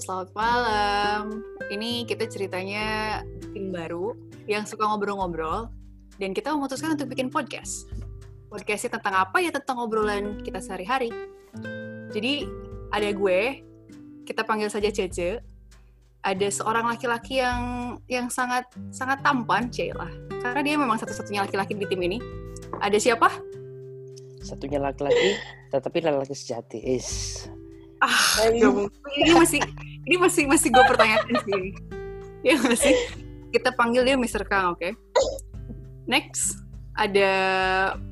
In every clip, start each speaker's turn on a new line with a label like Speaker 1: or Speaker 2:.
Speaker 1: selamat malam. Ini kita ceritanya tim baru yang suka ngobrol-ngobrol dan kita memutuskan untuk bikin podcast. Podcastnya tentang apa ya? Tentang obrolan kita sehari-hari. Jadi ada gue, kita panggil saja Cece. Ada seorang laki-laki yang yang sangat sangat tampan, Cila. Karena dia memang satu-satunya laki-laki di tim ini. Ada siapa?
Speaker 2: Satunya laki-laki, tetapi laki-laki sejati. Is.
Speaker 1: Ah, gak mungkin. ini masih ini masih masih gue pertanyakan sih. Ya masih. Kita panggil dia Mr. Kang, oke? Next ada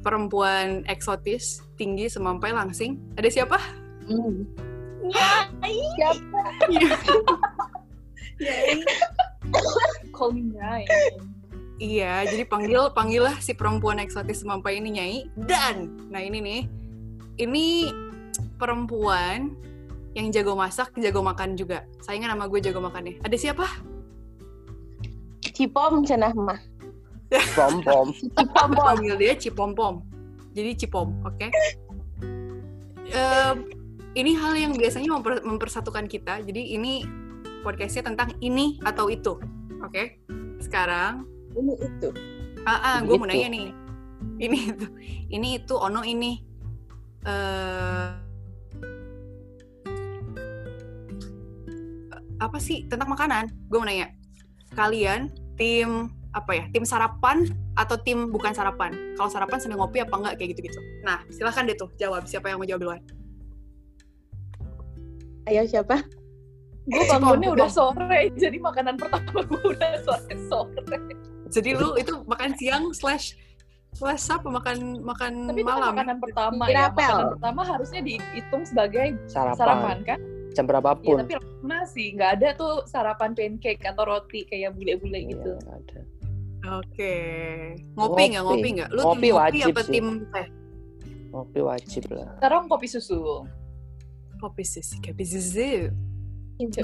Speaker 1: perempuan eksotis tinggi semampai langsing. Ada siapa?
Speaker 3: Siapa?
Speaker 1: Iya.
Speaker 3: Call me Nyai.
Speaker 1: Iya, jadi panggil panggillah si perempuan eksotis semampai ini Nyai dan nah ini nih ini perempuan yang jago masak, jago makan juga. Saingan sama gue jago makannya. Ada siapa?
Speaker 3: Cipom cenah mah.
Speaker 2: Pom pom.
Speaker 3: Cipom pom.
Speaker 1: Panggil dia Cipompom. Jadi Cipom, oke? Em, ini hal yang biasanya memper- mempersatukan kita. Jadi ini podcastnya tentang ini atau itu, oke? Sekarang,
Speaker 3: Ini itu.
Speaker 1: ah, ah gue mau
Speaker 2: Itu.
Speaker 1: nanya nih. Ini itu, ini itu, ono ini. Eh, apa sih tentang makanan? Gue mau nanya. Kalian tim apa ya? Tim sarapan atau tim bukan sarapan? Kalau sarapan sambil ngopi apa enggak kayak gitu-gitu. Nah, silahkan deh tuh jawab siapa yang mau jawab duluan.
Speaker 3: Ayo siapa?
Speaker 4: gue
Speaker 1: Cipom,
Speaker 4: bangunnya
Speaker 1: Cipom.
Speaker 4: udah sore jadi makanan pertama gue udah sore sore
Speaker 1: Jadi lu itu makan siang slash slash apa makan makan
Speaker 4: tapi itu kan
Speaker 1: Hmm, malam.
Speaker 4: makanan pertama ya
Speaker 3: Dirapel.
Speaker 4: makanan pertama harusnya dihitung sebagai
Speaker 2: Sarapan.
Speaker 4: sarapan kan
Speaker 2: Jam
Speaker 4: ya
Speaker 2: berapapun.
Speaker 4: tapi lama sih nggak ada tuh sarapan pancake atau roti kayak bule-bule gitu
Speaker 2: Iya, ada.
Speaker 1: Oke. Ngopi nggak
Speaker 2: Ngopi.
Speaker 1: ngopi nggak? Lu
Speaker 2: Ngopi
Speaker 1: tim ngopi
Speaker 2: wajib
Speaker 1: apa
Speaker 2: sih.
Speaker 1: tim teh?
Speaker 2: Ngopi wajib lah.
Speaker 4: sekarang kopi susu
Speaker 1: Kopi susu, kopi susu.
Speaker 4: Iya.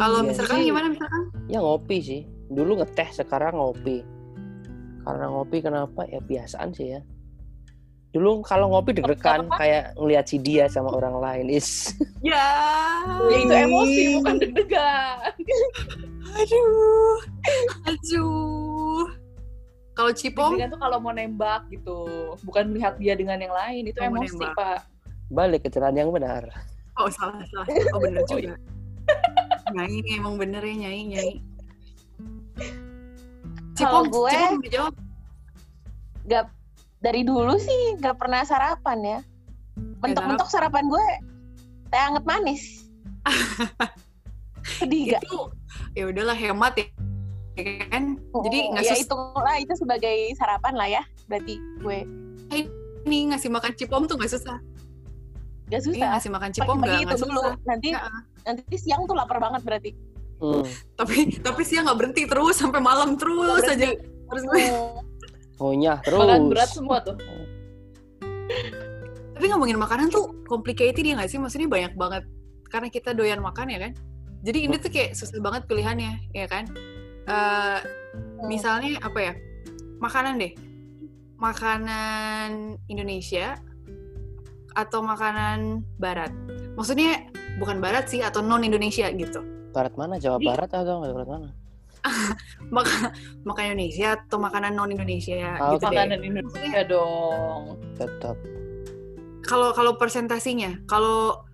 Speaker 1: Kalau
Speaker 2: Iya
Speaker 1: misalkan
Speaker 2: sih.
Speaker 1: gimana misalkan?
Speaker 2: Ya ngopi sih. Dulu ngeteh, sekarang ngopi. Karena ngopi kenapa? Ya biasaan sih ya. Dulu kalau ngopi deg-degan
Speaker 4: Kenapa?
Speaker 2: kayak ngeliat si dia sama orang lain. Is.
Speaker 1: Ya.
Speaker 4: Ya, itu emosi bukan
Speaker 1: Oh.
Speaker 4: deg-degan
Speaker 1: Aduh. Aduh. Kalau
Speaker 3: Iya.
Speaker 1: Cipom,
Speaker 4: deg-degan tuh kalau mau nembak gitu bukan melihat dia dengan yang lain itu
Speaker 1: Kalau mau
Speaker 4: emosi
Speaker 1: nembak.
Speaker 4: pak
Speaker 2: Balik ke jalan yang benar.
Speaker 1: oh salah salah. Oh bener juga. Nyai ini emang bener ya nyai nyai.
Speaker 3: Kalau
Speaker 1: Cipom,
Speaker 3: gue-
Speaker 1: Cipom udah jawab.
Speaker 3: Gak dari dulu sih gak pernah sarapan ya. Bentuk-bentuk sarapan gue teh anget manis. Sedih gak?
Speaker 1: Itu ya udahlah hemat ya. Ya kan? Jadi nggak
Speaker 3: ya
Speaker 1: sus-
Speaker 3: itu lah itu sebagai sarapan lah ya. Berarti gue
Speaker 1: nih ngasih makan cipom tuh nggak susah. Iya
Speaker 3: gak susah.
Speaker 1: ngasih makan cipom
Speaker 3: Pagi-pagi
Speaker 1: nggak
Speaker 3: itu
Speaker 1: nggak
Speaker 3: dulu.
Speaker 1: susah.
Speaker 3: Nanti
Speaker 1: Ya.
Speaker 3: nanti siang tuh lapar banget berarti.
Speaker 2: Hmm.
Speaker 1: Tapi tapi siang nggak berhenti terus sampai malam terus
Speaker 4: Nggak
Speaker 1: aja. Terus gue-
Speaker 2: Ngunyah terus.
Speaker 4: makanan berat semua tuh
Speaker 1: tapi ngomongin makanan tuh complicated ya nggak sih? Maksudnya banyak banget karena kita doyan makan ya kan. Jadi ini tuh kayak susah banget pilihannya ya kan. Eh, misalnya apa ya? Makanan deh. Makanan Indonesia atau makanan Barat. Maksudnya bukan Barat sih atau non Indonesia gitu.
Speaker 2: Barat mana? Jawa
Speaker 1: Jadi-
Speaker 2: Barat atau nggak Barat mana?
Speaker 1: Maka- makanan Indonesia atau makanan non Indonesia
Speaker 2: Ah,
Speaker 1: gitu deh.
Speaker 4: Oh, makanan Indonesia dong
Speaker 2: Tetap.
Speaker 1: Kalau kalau presentasinya, kalau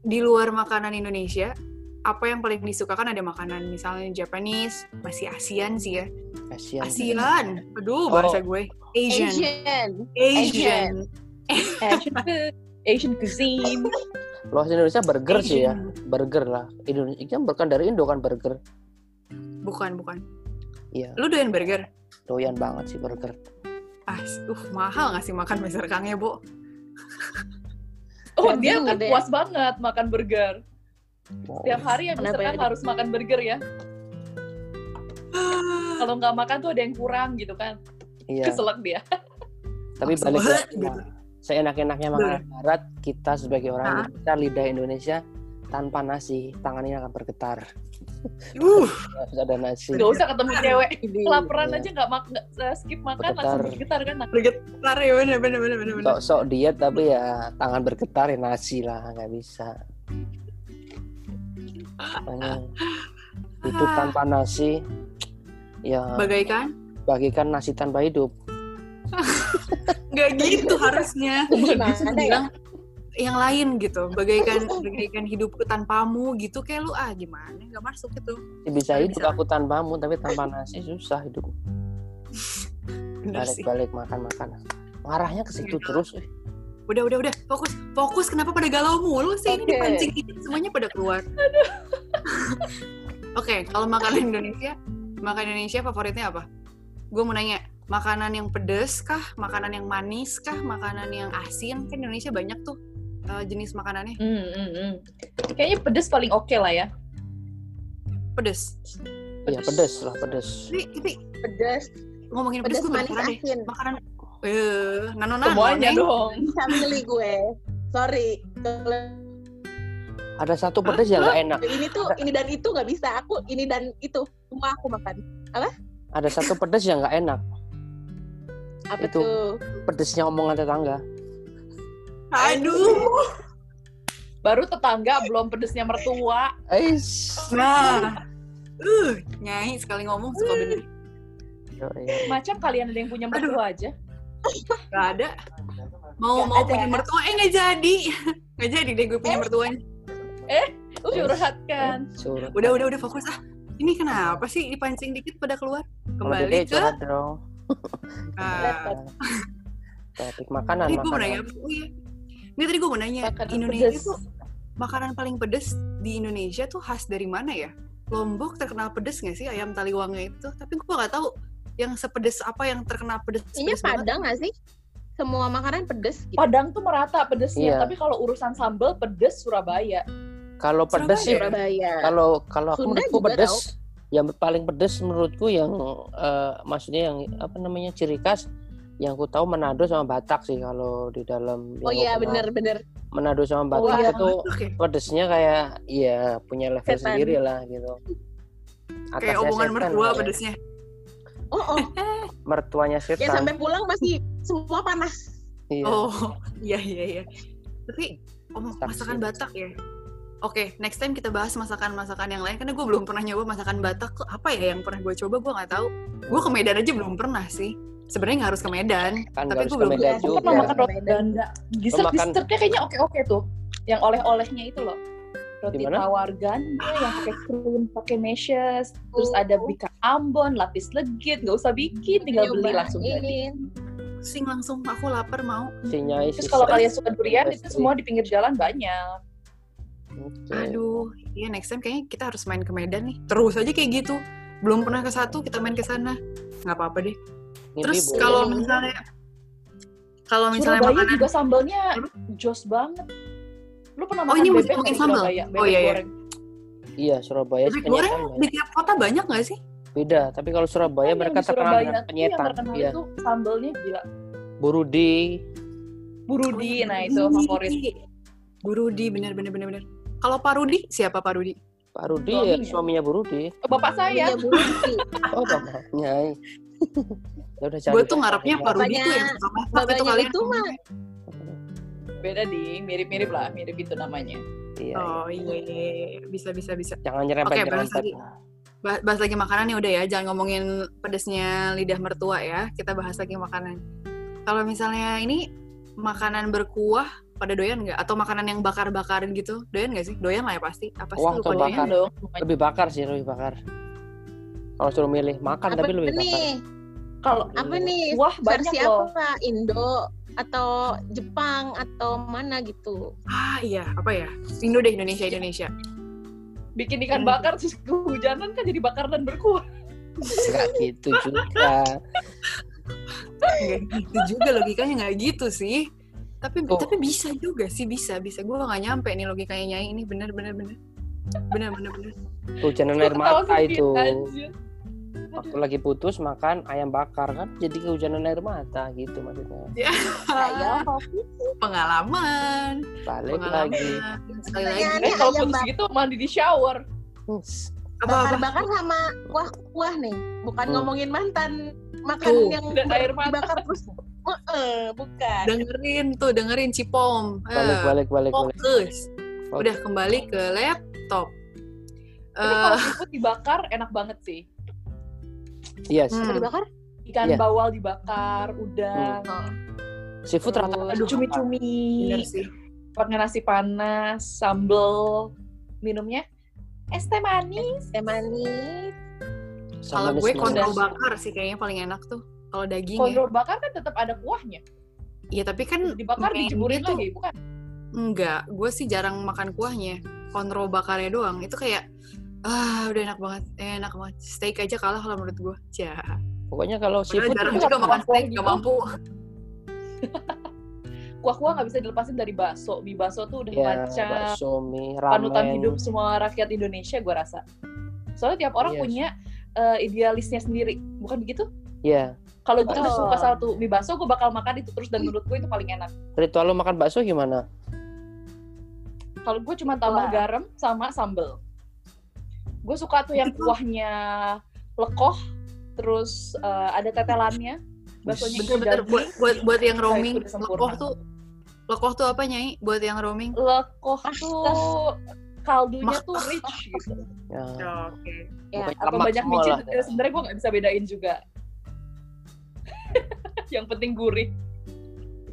Speaker 1: di luar makanan Indonesia, apa yang paling disukakan ada makanan misalnya Japanese, masih ASEAN sih ya.
Speaker 2: Kasihan.
Speaker 1: ASEAN. Aduh,
Speaker 2: Oh.
Speaker 1: bahasa gue. Asian.
Speaker 3: Asian.
Speaker 1: Asian.
Speaker 4: Asian food, Asian cuisine
Speaker 2: Luas Indonesia burger sih ya.
Speaker 4: Iya.
Speaker 1: Asian.
Speaker 2: Burger lah. Indonesia kan bukan dari Indo kan burger.
Speaker 1: Bukan, bukan.
Speaker 2: Iya.
Speaker 1: Lu doyan burger?
Speaker 2: Doyan banget sih burger.
Speaker 1: Ah, uh, mahal ngasih makan Mr. Kang ya, Bu.
Speaker 4: Oh
Speaker 3: Dan
Speaker 4: dia
Speaker 3: dulu
Speaker 4: kan
Speaker 3: deh.
Speaker 4: puas banget makan burger.
Speaker 2: Wow.
Speaker 4: Tiap hari yang
Speaker 3: Kenapa
Speaker 4: misalkan
Speaker 3: ya?
Speaker 4: harus makan burger ya.
Speaker 1: Uh,
Speaker 4: Kalau nggak makan tuh ada yang kurang gitu kan.
Speaker 2: Iya.
Speaker 4: Keselak dia.
Speaker 2: Tapi
Speaker 1: Langsung
Speaker 2: balik
Speaker 1: banget
Speaker 2: lagi nah, lah. Seenak-enaknya makanan barat, kita sebagai orang
Speaker 1: Hah?
Speaker 2: Indonesia, lidah Indonesia, tanpa nasi, tangannya akan bergetar.
Speaker 1: Uh,
Speaker 2: Nggak usah ada nasi.
Speaker 4: Nggak usah ketemu cewek. Kelaparan
Speaker 2: Iya.
Speaker 4: aja nggak mak nggak- eh, skip makan
Speaker 2: Bergetar.
Speaker 4: langsung bergetar kan.
Speaker 1: bergetar ya, bener, bener, bener, bener. bener.
Speaker 2: Sok-sok diet tapi ya tangan bergetar ya nasi lah, nggak bisa. Makanya hidup
Speaker 1: Ah.
Speaker 2: tanpa nasi ya
Speaker 1: Bagaikan?
Speaker 2: bagikan nasi tanpa hidup.
Speaker 1: Nggak gitu harusnya.
Speaker 3: Gimana
Speaker 1: Bisa
Speaker 3: ya?
Speaker 1: bilang yang lain gitu. Bagaikan bagaikan hidupku tanpamu gitu kayak lu ah gimana? Nggak masuk gitu.
Speaker 2: Ya, Bisa
Speaker 1: Nggak
Speaker 2: hidup
Speaker 1: bisa.
Speaker 2: aku tanpamu tapi tanpa nasi susah hidup.
Speaker 1: Bener sih.
Speaker 2: Balik-balik makan-makan. Marahnya ke situ
Speaker 1: Iya.
Speaker 2: terus. eh.
Speaker 1: Udah udah udah fokus fokus kenapa pada galau mulu sih ini
Speaker 3: Oke.
Speaker 1: dipancing dikit semuanya pada keluar. Oke kalau makanan Indonesia makanan Indonesia favoritnya apa? Gue mau nanya makanan yang pedes kah? Makanan yang manis kah? Makanan yang asin kan Indonesia banyak tuh eh, jenis makanannya
Speaker 4: Hmm, hmm, hmm. Kayaknya pedes paling oke lah ya.
Speaker 1: pedes.
Speaker 2: Iya pedes lah pedes.
Speaker 1: Tapi, tapi
Speaker 3: Pedas,
Speaker 1: ngomongin pedes,
Speaker 3: pedas
Speaker 1: gue
Speaker 3: manis
Speaker 1: penasaran deh.
Speaker 3: asin.
Speaker 1: Makanan eh nano nano
Speaker 4: Semuanya dong.
Speaker 3: Bisa milih gue. Sorry. Kalau
Speaker 2: Ada satu pedes yang nggak enak.
Speaker 3: ini tuh ini dan itu nggak bisa. Aku ini dan itu semua aku makan.
Speaker 2: Ada satu pedes yang nggak enak.
Speaker 3: Apa
Speaker 2: Itu.
Speaker 3: tuh?
Speaker 2: Pedesnya omongan tetangga.
Speaker 1: Aduh.
Speaker 4: Baru tetangga belum pedesnya mertua.
Speaker 2: Eish.
Speaker 1: Nah. Uh, nyai sekali ngomong suka bener.
Speaker 2: Yo, iya.
Speaker 4: Macam kalian ada yang punya mertua aja.
Speaker 1: Gak ada. Mau
Speaker 3: Nggak
Speaker 1: mau
Speaker 3: ada. Eh.
Speaker 1: punya mertua eh nggak jadi. Nggak jadi deh gue punya mertuanya.
Speaker 4: Curhatkan.
Speaker 2: Curhat.
Speaker 1: Udah udah udah fokus ah. Ini kenapa sih dipancing dikit pada keluar?
Speaker 2: Kalau
Speaker 1: Kembali
Speaker 2: Dede
Speaker 1: ke
Speaker 2: curhat dong.
Speaker 1: Ah,
Speaker 2: Topik makanan,
Speaker 1: tadi gue mau nanya.
Speaker 2: makanan.
Speaker 1: Oh iya. Nggak, tadi gue mau nanya.
Speaker 4: Makanan
Speaker 1: Indonesia
Speaker 4: pedes.
Speaker 1: tuh makanan paling pedes di Indonesia tuh khas dari mana ya? Lombok terkenal pedes nggak sih ayam taliwangnya itu? Tapi gue nggak tahu yang sepedes apa yang terkenal pedes.
Speaker 3: Kayaknya
Speaker 1: pedes banget.
Speaker 3: padang nggak sih? Semua makanan pedes gitu.
Speaker 4: Padang tuh merata pedesnya,
Speaker 2: Iya.
Speaker 4: tapi kalau urusan sambal pedes Surabaya.
Speaker 2: Kalau pedes sih,
Speaker 1: Surabaya.
Speaker 3: Surabaya.
Speaker 2: kalau kalau aku
Speaker 3: Sunda
Speaker 2: menurutku
Speaker 3: juga
Speaker 2: pedes,
Speaker 3: tahu.
Speaker 2: yang paling pedes menurutku yang eh, maksudnya yang apa namanya ciri khas yang ku tahu Manado sama Batak sih kalau di dalam yang
Speaker 3: Oh iya
Speaker 2: aku kenal.
Speaker 3: bener-bener.
Speaker 2: Manado sama Batak
Speaker 3: iya.
Speaker 2: itu
Speaker 1: Oke.
Speaker 2: pedesnya kayak ya punya level
Speaker 3: Setan.
Speaker 2: sendiri lah gitu.
Speaker 1: Kayak
Speaker 2: Atasnya
Speaker 1: omongan
Speaker 2: setan,
Speaker 1: mertua
Speaker 2: namanya.
Speaker 1: pedesnya.
Speaker 3: Oh oh.
Speaker 2: mertuanya setan.
Speaker 3: Ya sampai pulang masih semua panas.
Speaker 2: Iya.
Speaker 1: Oh, iya iya iya. Tapi om
Speaker 2: Saksi.
Speaker 1: masakan Batak ya. Oke, next time kita bahas masakan-masakan yang lain karena gue belum pernah nyoba masakan Batak apa ya yang pernah gue coba gue nggak tahu. Gue ke Medan aja belum pernah sih. Sebenarnya nggak harus ke Medan. tapi
Speaker 2: Kan nggak harus
Speaker 1: gue
Speaker 2: ke
Speaker 1: belum
Speaker 2: Medan
Speaker 3: Aku
Speaker 4: Aku
Speaker 2: juga.
Speaker 4: pernah
Speaker 3: Iya.
Speaker 4: makan roti ganda. Dessert-dessertnya kayaknya oke-oke tuh. Yang oleh-olehnya itu loh. Roti
Speaker 2: Gimana?
Speaker 4: tawar ganda yang pakai krim, pakai meshes, terus
Speaker 1: Oh.
Speaker 4: ada bika Ambon, lapis legit, nggak usah bikin,
Speaker 1: Iya,
Speaker 4: tinggal beli langsung jadi.
Speaker 3: Nyobain.
Speaker 1: Sing langsung aku lapar mau.
Speaker 2: Sinyai
Speaker 4: Terus
Speaker 2: sih,
Speaker 4: kalau
Speaker 2: Stan.
Speaker 4: kalian suka durian itu
Speaker 2: Pasti.
Speaker 4: semua di pinggir jalan banyak.
Speaker 2: Oke.
Speaker 1: Aduh, iya next time kayaknya kita harus main ke Medan nih. Terus aja kayak gitu. Belum pernah ke satu, kita main ke sana. Nggak apa-apa deh.
Speaker 2: Ini
Speaker 1: Terus
Speaker 2: boleh.
Speaker 1: kalau misalnya kalau misalnya
Speaker 4: Surabaya
Speaker 1: makanan
Speaker 4: juga sambalnya jos banget. Lu pernah
Speaker 1: Oh,
Speaker 4: makan
Speaker 1: ini
Speaker 4: bebek
Speaker 1: masih ngomongin
Speaker 4: nggak di
Speaker 1: sambal?
Speaker 4: Surabaya?
Speaker 1: Oh, iya, iya.
Speaker 4: goreng.
Speaker 2: Iya Surabaya sih
Speaker 1: Bebek goreng
Speaker 2: penyetan
Speaker 1: di
Speaker 2: banyak.
Speaker 1: tiap kota banyak nggak sih?
Speaker 2: beda. Tapi kalau Surabaya
Speaker 4: Kan
Speaker 2: mereka
Speaker 4: yang di
Speaker 2: terkenal
Speaker 4: Surabaya
Speaker 2: dengan
Speaker 4: tuh
Speaker 2: penyetan.
Speaker 4: Yang terkenal
Speaker 2: Iya.
Speaker 4: itu sambalnya gila.
Speaker 2: Burudi.
Speaker 4: Burudi,
Speaker 1: Oh, iya.
Speaker 4: nah itu favorit.
Speaker 1: Burudi, bener bener bener bener. Kalau Pak Rudi, siapa Pak Rudi?
Speaker 2: Pak Rudi ya,
Speaker 4: Suaminya.
Speaker 2: suaminya Burudi.
Speaker 4: Oh, Bapak
Speaker 1: Iya,
Speaker 4: saya.
Speaker 3: Punya bulu sih.
Speaker 2: Oh bapaknya. ya udah cari. Iya.
Speaker 1: Gue tuh ngarepnya Pak Rudi
Speaker 3: Bapaknya-
Speaker 1: tuh yang suka masak itu
Speaker 3: Bapaknya
Speaker 1: kali.
Speaker 3: itu mah
Speaker 4: Beda di mirip-mirip lah, mirip itu namanya.
Speaker 2: Iya. iya.
Speaker 1: Oh iya, iya, iya. bisa bisa bisa.
Speaker 2: Jangan nyerempet
Speaker 1: Oke, bahas
Speaker 2: nyerempet.
Speaker 1: lagi. Bah- Bahas lagi makanan ya udah ya, jangan ngomongin pedesnya lidah mertua ya. Kita bahas lagi makanan. Kalau misalnya ini makanan berkuah pada doyan nggak? Atau makanan yang bakar-bakaran gitu, doyan nggak sih? Doyan lah ya pasti. Apa sih
Speaker 2: Wah,
Speaker 1: lupa
Speaker 2: tuh
Speaker 1: doyan?
Speaker 2: bakar.
Speaker 4: dong.
Speaker 2: Lebih bakar sih lebih bakar. Kalau suruh milih makan
Speaker 3: apa
Speaker 2: tapi lebih bakar.
Speaker 3: nih?
Speaker 4: Kalau
Speaker 3: Apa nih?
Speaker 4: wah banyak
Speaker 3: Versi
Speaker 4: loh.
Speaker 3: apa? Indo atau Jepang atau mana gitu?
Speaker 1: Ah iya, apa ya? Indo deh Indonesia Indonesia.
Speaker 4: Bikin ikan
Speaker 2: Hmm.
Speaker 4: bakar terus kehujanan kan jadi bakar dan berkuah.
Speaker 2: Enggak gitu juga.
Speaker 1: nggak gitu juga logikanya nggak gitu sih tapi
Speaker 2: Tuh.
Speaker 1: tapi bisa juga sih bisa bisa gue nggak nyampe nih logikanya nyai ini bener bener bener bener bener bener
Speaker 2: Hujanan air
Speaker 4: Ketawa
Speaker 2: mata
Speaker 4: sendiri,
Speaker 2: itu.
Speaker 4: anjir.
Speaker 2: Waktu lagi putus makan ayam bakar kan jadi kehujanan air mata gitu maksudnya.
Speaker 3: Saya
Speaker 1: pengalaman
Speaker 2: Balik
Speaker 1: pengalaman
Speaker 2: lagi.
Speaker 1: sekali lagi
Speaker 3: Pertanyaannya-
Speaker 4: Eh, kalau
Speaker 3: ayam
Speaker 4: putus
Speaker 3: bakar.
Speaker 4: gitu mandi di shower.
Speaker 2: Hus.
Speaker 1: apa apa
Speaker 3: bakar-bakar sama kuah-kuah nih. Bukan
Speaker 2: Hmm.
Speaker 3: ngomongin mantan makan
Speaker 1: Tuh.
Speaker 3: yang
Speaker 4: Dan air mata.
Speaker 3: bakar terus. Heeh, bukan.
Speaker 1: dengerin tuh dengerin cipom Eh,
Speaker 2: Balik balik balik balik.
Speaker 1: fokus udah kembali ke laptop
Speaker 4: Tapi kalau
Speaker 1: Eh,
Speaker 4: seafood dibakar enak banget sih.
Speaker 2: Yes.
Speaker 1: Hmm.
Speaker 3: Apa dibakar?
Speaker 4: Ikan
Speaker 2: Iya. Hmm.
Speaker 4: bawal dibakar, udang,
Speaker 2: Seafood rata-rata
Speaker 4: terus cumi-cumi,
Speaker 2: Iya.
Speaker 1: bener sih.
Speaker 4: pakai nasi panas, sambel, minumnya es teh manis.
Speaker 3: Teh manis.
Speaker 1: Kalau Ah,
Speaker 2: sama
Speaker 1: gue
Speaker 2: manis-manis.
Speaker 1: kontrol bakar sih kayaknya paling enak tuh. Kalau daging ya.
Speaker 4: Kondro bakar kan tetap ada kuahnya.
Speaker 1: Iya tapi kan
Speaker 4: Dibakar
Speaker 1: makanya
Speaker 4: dijemurin
Speaker 1: dia tuh-
Speaker 4: lagi, bukan?
Speaker 1: Enggak, gue sih jarang makan kuahnya. Kontrol bakarnya doang. Itu kayak ah udah enak banget, Eh, enak banget. Steak aja kalah kalau menurut gue. Ya.
Speaker 2: Pokoknya kalau
Speaker 1: Padahal
Speaker 2: seafood
Speaker 1: jarang
Speaker 4: tuh
Speaker 1: juga
Speaker 4: nggak
Speaker 1: makan
Speaker 4: mampu
Speaker 1: steak,
Speaker 4: gitu.
Speaker 1: gak mampu.
Speaker 4: Kuah-kuah nggak bisa dilepasin dari bakso. Mie bakso tuh udah
Speaker 3: Iya,
Speaker 2: ya
Speaker 4: macam
Speaker 2: bakso mie ramen
Speaker 4: panutan hidup semua rakyat Indonesia gue rasa. Soalnya tiap orang
Speaker 2: Yes.
Speaker 3: Iya
Speaker 4: punya eh, idealisnya sendiri, bukan begitu?
Speaker 2: ya
Speaker 4: Kalau gue
Speaker 3: Betul.
Speaker 4: tuh suka satu mie bakso, gue bakal makan itu terus dan menurut gue itu paling enak.
Speaker 2: ritual lo makan bakso gimana
Speaker 4: Kalau gue cuma tambah
Speaker 3: Wah.
Speaker 4: garam sama sambel. Gue suka tuh yang kuahnya lekoh, terus eh, ada tetelannya. Baksonya itu
Speaker 1: Bener-bener buat, buat, buat yang roaming,
Speaker 4: udah sempurna.
Speaker 1: lekoh tuh Lekoh tuh apa nyai? Buat yang roaming?
Speaker 4: lekoh tuh kaldunya tuh rich gitu.
Speaker 2: ya,
Speaker 1: Oke.
Speaker 3: Ya,
Speaker 2: pokoknya
Speaker 4: apa
Speaker 2: lemak
Speaker 4: banyak
Speaker 2: semua
Speaker 4: micin
Speaker 2: lah. ya.
Speaker 4: eh, sebenarnya gue nggak bisa bedain juga yang penting gurih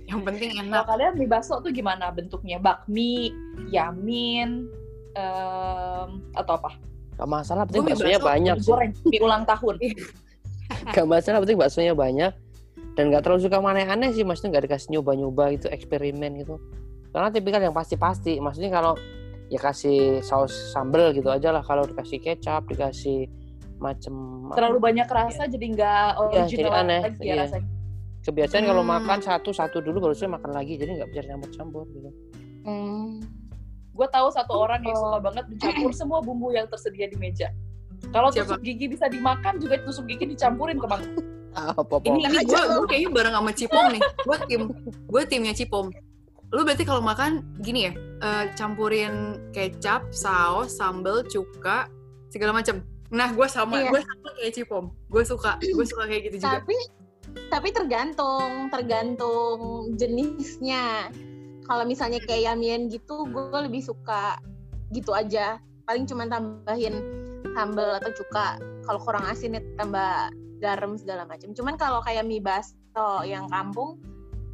Speaker 1: Yang penting enak.
Speaker 4: nah kalian mie bakso tuh gimana bentuknya bakmi yamin em, atau apa
Speaker 2: Gak masalah, penting
Speaker 1: Gue mie
Speaker 2: baksonya
Speaker 1: bakso,
Speaker 2: banyak
Speaker 4: Mie
Speaker 2: sih. Iya.
Speaker 4: goreng mie ulang tahun
Speaker 2: Gak masalah, penting baksonya banyak. Dan gak terlalu suka yang aneh-aneh sih, maksudnya gak dikasih nyoba-nyoba gitu, eksperimen gitu. Karena tipikal yang pasti-pasti, maksudnya kalau ya kasih saus sambel gitu aja lah. Kalau dikasih kecap, dikasih macem
Speaker 4: terlalu banyak rasa jadi nggak
Speaker 2: Iya. jadi
Speaker 4: original
Speaker 2: aneh,
Speaker 4: lagi ya
Speaker 2: iya.
Speaker 4: rasanya
Speaker 2: kebiasaan kalau
Speaker 1: Hmm.
Speaker 2: makan satu-satu dulu baru saya makan lagi jadi nggak bisa campur-campur gitu
Speaker 3: Hmm.
Speaker 4: gue tahu satu orang yang suka
Speaker 2: Oh.
Speaker 4: banget mencampur semua bumbu yang tersedia di meja kalau
Speaker 1: Siapa?
Speaker 4: tusuk gigi bisa dimakan juga tusuk gigi dicampurin ke mangkok
Speaker 2: apa
Speaker 1: Ini,
Speaker 2: apa
Speaker 1: ini gue kayaknya bareng sama Cipom nih. Gue tim, gue timnya Cipom. Lu berarti kalau makan gini ya, eh, campurin kecap, saus, sambel, cuka, segala macam. Nah, gue sama,
Speaker 3: Iya.
Speaker 1: gue sama kayak Cipom. Gue suka, gue suka kayak gitu juga.
Speaker 3: Tapi tapi tergantung tergantung jenisnya. Kalau misalnya kayak yamian gitu, gue lebih suka gitu aja. Paling cuman tambahin sambal atau cuka. Kalau kurang asin ya tambah garam segala macam. Cuman kalau kayak mie basto yang kampung,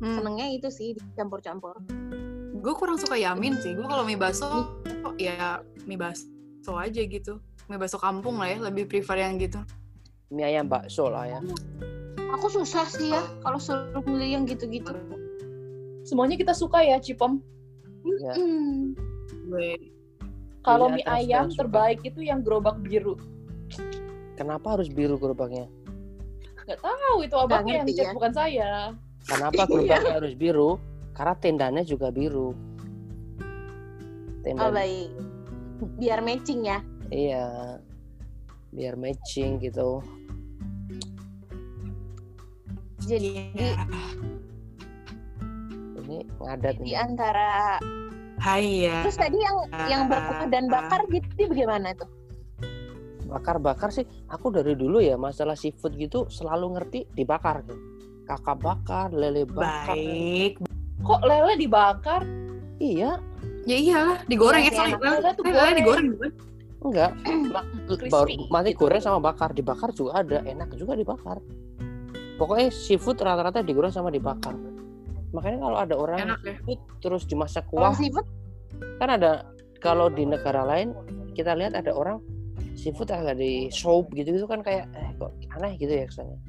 Speaker 1: Hmm.
Speaker 3: senengnya itu sih dicampur-campur.
Speaker 1: Gue kurang suka yamin sih. Gue kalau mie baso, ya mie baso aja gitu. Mie baso kampung lah ya, lebih prefer yang gitu.
Speaker 2: mie ayam bakso lah ya
Speaker 3: Aku susah sih ya kalau suruh milih yang gitu-gitu.
Speaker 4: semuanya kita suka ya cipom
Speaker 2: Ya.
Speaker 3: Hmm.
Speaker 1: Gue
Speaker 4: kalau
Speaker 2: Iya,
Speaker 4: mie
Speaker 2: terus
Speaker 4: ayam
Speaker 2: yang suka.
Speaker 4: terbaik itu yang gerobak biru
Speaker 2: kenapa harus biru gerobaknya
Speaker 4: Gak tahu itu abangnya yang
Speaker 3: ngerti
Speaker 4: chat
Speaker 3: ya.
Speaker 4: bukan saya.
Speaker 2: Kenapa
Speaker 1: Iya.
Speaker 2: gerobaknya harus biru? Karena tendanya juga biru. Tenda
Speaker 3: Oh baik. Biar matching ya.
Speaker 2: iya. Biar matching gitu.
Speaker 3: Jadi
Speaker 1: ya.
Speaker 2: Ini ngadat
Speaker 3: di
Speaker 2: nih.
Speaker 3: antara
Speaker 1: Hai ya.
Speaker 3: Terus tadi yang yang berkuah dan bakar gitu dia bagaimana tuh?
Speaker 2: Bakar-bakar sih aku dari dulu ya masalah seafood gitu selalu ngerti dibakar gitu. Kakak bakar, lele bakar.
Speaker 1: Baik.
Speaker 4: Kok lele dibakar?
Speaker 2: Iya,
Speaker 1: Ya iyalah, digoreng ya.
Speaker 3: Iya,
Speaker 1: Sorry,
Speaker 4: enak. Lele tuh
Speaker 1: Eh, Eh, lele
Speaker 4: goreng.
Speaker 1: digoreng bukan?
Speaker 2: enggak. Ma-
Speaker 4: Crispy
Speaker 2: baru mati
Speaker 4: gitu.
Speaker 2: goreng sama bakar, dibakar juga ada, enak juga dibakar. Pokoknya seafood rata-rata digoreng sama dibakar. Makanya kalau ada orang
Speaker 1: Enak ya.
Speaker 2: seafood terus dimasak
Speaker 3: Kalau
Speaker 2: kuah
Speaker 3: seafood
Speaker 2: kan ada kalau di negara lain kita lihat ada orang seafood agak di soup gitu gitu kan kayak eh kok aneh gitu ya kesannya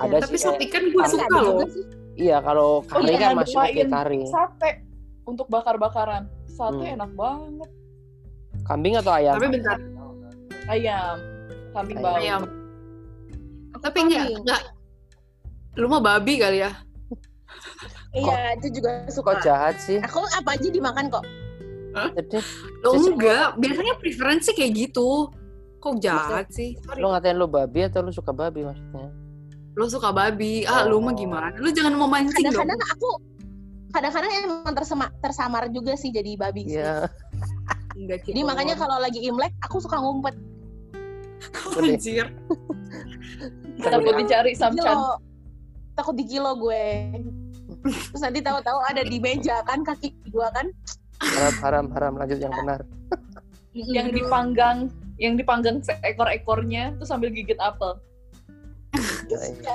Speaker 2: ada
Speaker 1: Ya, Tapi Oh,
Speaker 2: sih
Speaker 1: sop
Speaker 2: kayak-
Speaker 1: ikan gue
Speaker 2: Tapi
Speaker 1: suka
Speaker 3: ada
Speaker 1: loh.
Speaker 3: juga kan sih.
Speaker 2: iya kalau kari
Speaker 4: iya,
Speaker 2: kan
Speaker 4: ada
Speaker 2: masuk ke
Speaker 4: lain.
Speaker 2: kari
Speaker 4: Sate untuk bakar-bakaran. Sate
Speaker 2: Hmm.
Speaker 4: enak banget.
Speaker 2: kambing atau ayam
Speaker 1: Tapi bentar,
Speaker 4: Ayam, kambing
Speaker 2: Ayam.
Speaker 4: bawang.
Speaker 1: ayam.
Speaker 3: Aku
Speaker 1: Tapi enggak,
Speaker 3: kambing.
Speaker 1: enggak. Lu mah babi kali ya?
Speaker 3: Iya, itu juga suka.
Speaker 2: kok jahat sih
Speaker 3: Aku apa aja dimakan kok.
Speaker 1: Kan-
Speaker 2: jadi
Speaker 1: Lo
Speaker 2: Sih,
Speaker 1: enggak. Biasanya preferensi kayak gitu. Kok jahat sih? Sorry.
Speaker 2: lu ngatain lu babi atau lu suka babi maksudnya
Speaker 1: Lu suka babi. Ah, lu mah
Speaker 2: Oh.
Speaker 1: gimana? Lu jangan mau mancing dong.
Speaker 3: Kadang-kadang aku kadang-kadang emang tersema, tersamar juga sih jadi babi. sih.
Speaker 2: iya
Speaker 1: Enggak, Cik.
Speaker 3: Jadi makanya kalau lagi Imlek aku suka ngumpet.
Speaker 1: Anjir.
Speaker 4: Takut dicari samcan.
Speaker 3: Gilo. Takut digilo gue. Terus nanti tahu-tahu ada di meja kan kaki gua kan.
Speaker 2: haram haram haram lanjut yang benar
Speaker 4: yang dipanggang yang dipanggang seekor-ekornya terus sambil gigit apel.
Speaker 1: ya.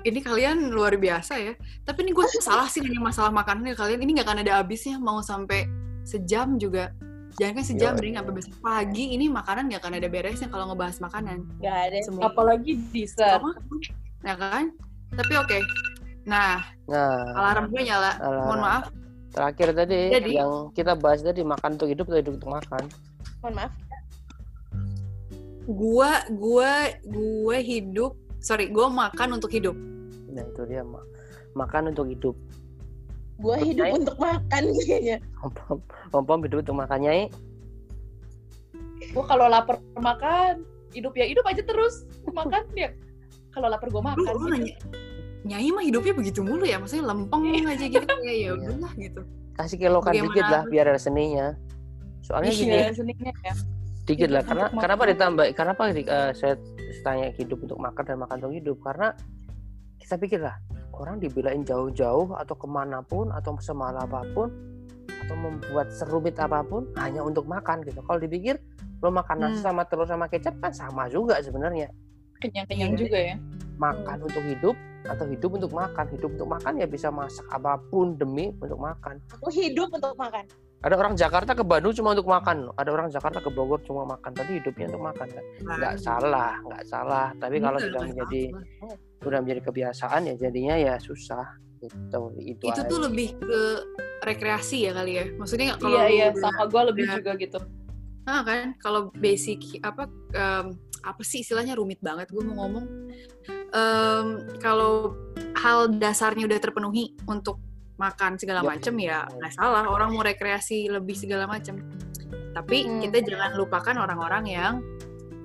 Speaker 1: Ini kalian luar biasa ya. Tapi ini gue salah sih nanya masalah makanannya kalian. Ini nggak akan ada habisnya mau sampai sejam juga. Jangan kan sejam,
Speaker 2: Yoi.
Speaker 1: mending sampai besok pagi. Ini makanan nggak akan ada beresnya kalau ngebahas makanan.
Speaker 3: Gak ada.
Speaker 1: Semua
Speaker 4: Apalagi dessert.
Speaker 1: Sama. Nah kan? Tapi oke. Nah,
Speaker 2: Nah,
Speaker 1: alarm gue nyala.
Speaker 2: alarm.
Speaker 1: Mohon maaf.
Speaker 2: terakhir tadi
Speaker 1: Jadi-
Speaker 2: yang kita bahas tadi makan untuk hidup atau hidup untuk makan.
Speaker 3: Mohon maaf.
Speaker 1: Gue, gue, gue hidup. Sorry, gue makan untuk hidup.
Speaker 2: Nah, itu dia Ma- makan untuk hidup.
Speaker 3: Gue hidup
Speaker 2: Baik.
Speaker 3: untuk makan kayaknya.
Speaker 2: Pom-pom pom-pom hidup untuk makannya. eh.
Speaker 4: Gua kalau lapar makan, hidup ya hidup aja terus makan ya. Kalau lapar gua
Speaker 1: Lu,
Speaker 4: makan.
Speaker 1: lu
Speaker 4: gitu.
Speaker 1: nanya, Nyai mah hidupnya begitu mulu ya, maksudnya lempeng
Speaker 4: Iya.
Speaker 1: aja gitu ya, ya udahlah gitu.
Speaker 2: Kasih kelokan
Speaker 1: Bagaimana
Speaker 2: dikit lah biar ada seninya. Soalnya gini,
Speaker 4: Iya, seninya ya.
Speaker 2: dikit lah
Speaker 4: Hidup
Speaker 2: karena
Speaker 4: untuk
Speaker 2: kenapa
Speaker 4: makan.
Speaker 2: ditambah kenapa eh, saya tanya hidup untuk makan dan makan untuk hidup karena kita pikir lah orang dibilangin jauh-jauh atau kemanapun atau semahal apapun atau membuat serumit apapun hanya untuk makan gitu kalau dipikir lo makan nasi
Speaker 1: Hmm.
Speaker 2: sama telur sama kecap kan sama juga sebenarnya
Speaker 4: Kenyang-kenyang
Speaker 1: Iya.
Speaker 4: juga ya.
Speaker 2: makan untuk hidup atau hidup untuk makan hidup untuk makan ya bisa masak apapun demi untuk makan
Speaker 3: Aku hidup untuk makan.
Speaker 2: ada orang Jakarta ke Bandung cuma untuk makan loh. ada orang Jakarta ke Bogor cuma makan tadi hidupnya untuk makan kan nggak salah nggak salah tapi kalau
Speaker 1: Nah. Bener,
Speaker 2: sudah
Speaker 1: nggak
Speaker 2: menjadi
Speaker 1: salah.
Speaker 2: udah menjadi kebiasaan ya jadinya ya susah gitu itu,
Speaker 1: itu
Speaker 2: aja.
Speaker 1: tuh lebih ke rekreasi ya kali ya. Maksudnya kalau
Speaker 4: Iya
Speaker 1: lu
Speaker 4: iya,
Speaker 1: udah-
Speaker 4: sama gua lebih
Speaker 1: udah-
Speaker 4: juga gitu.
Speaker 1: Ah, kan kalau basic apa em, apa sih istilahnya rumit banget gue mau ngomong. Em, kalau hal dasarnya udah terpenuhi untuk makan segala
Speaker 2: Yap.
Speaker 1: macem ya nggak salah orang mau rekreasi lebih segala macem. Tapi
Speaker 3: Hmm.
Speaker 1: kita jangan lupakan orang-orang yang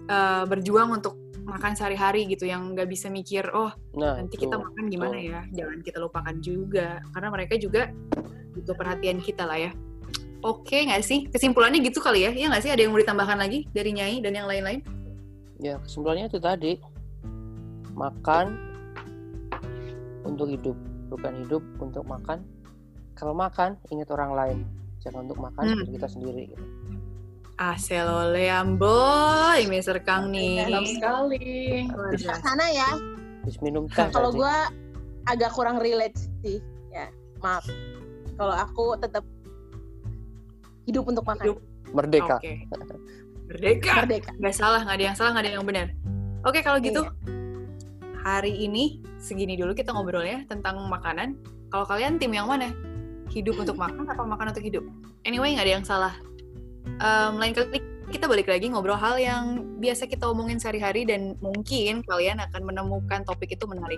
Speaker 1: eh, berjuang untuk makan sehari-hari gitu yang nggak bisa mikir oh
Speaker 2: nah
Speaker 1: nanti
Speaker 2: itu.
Speaker 1: kita makan gimana
Speaker 2: betul.
Speaker 1: ya jangan kita lupakan juga karena mereka juga butuh perhatian kita lah ya oke nggak sih kesimpulannya gitu kali ya ya nggak sih ada yang mau ditambahkan lagi dari nyai dan yang lain-lain
Speaker 2: ya kesimpulannya itu tadi makan untuk hidup bukan hidup untuk makan kalau makan ingat orang lain jangan untuk makan
Speaker 1: Hmm.
Speaker 2: diri kita sendiri gitu.
Speaker 1: aselole amboy Mr. Kang nih
Speaker 4: Dalam sekali.
Speaker 1: Luar biasa.
Speaker 3: Sana ya.
Speaker 2: Terus minum teh
Speaker 3: Kalau
Speaker 2: tadi.
Speaker 3: gue agak kurang relate sih. Ya, maaf. Kalau aku tetap hidup untuk makan.
Speaker 1: Hidup.
Speaker 2: merdeka
Speaker 1: oke merdeka
Speaker 3: Merdeka.
Speaker 1: nggak salah nggak ada yang salah nggak ada yang benar oke kalau gitu hari ini segini dulu kita ngobrolnya tentang makanan kalau kalian tim yang mana hidup untuk makan apa makan untuk hidup anyway nggak ada yang salah Em, lain kali kita balik lagi ngobrol hal yang biasa kita omongin sehari-hari dan mungkin kalian akan menemukan topik itu menarik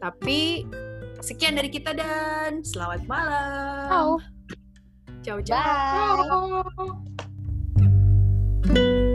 Speaker 1: tapi sekian dari kita dan selamat malam ciao ciao
Speaker 3: Bye.
Speaker 4: Bye.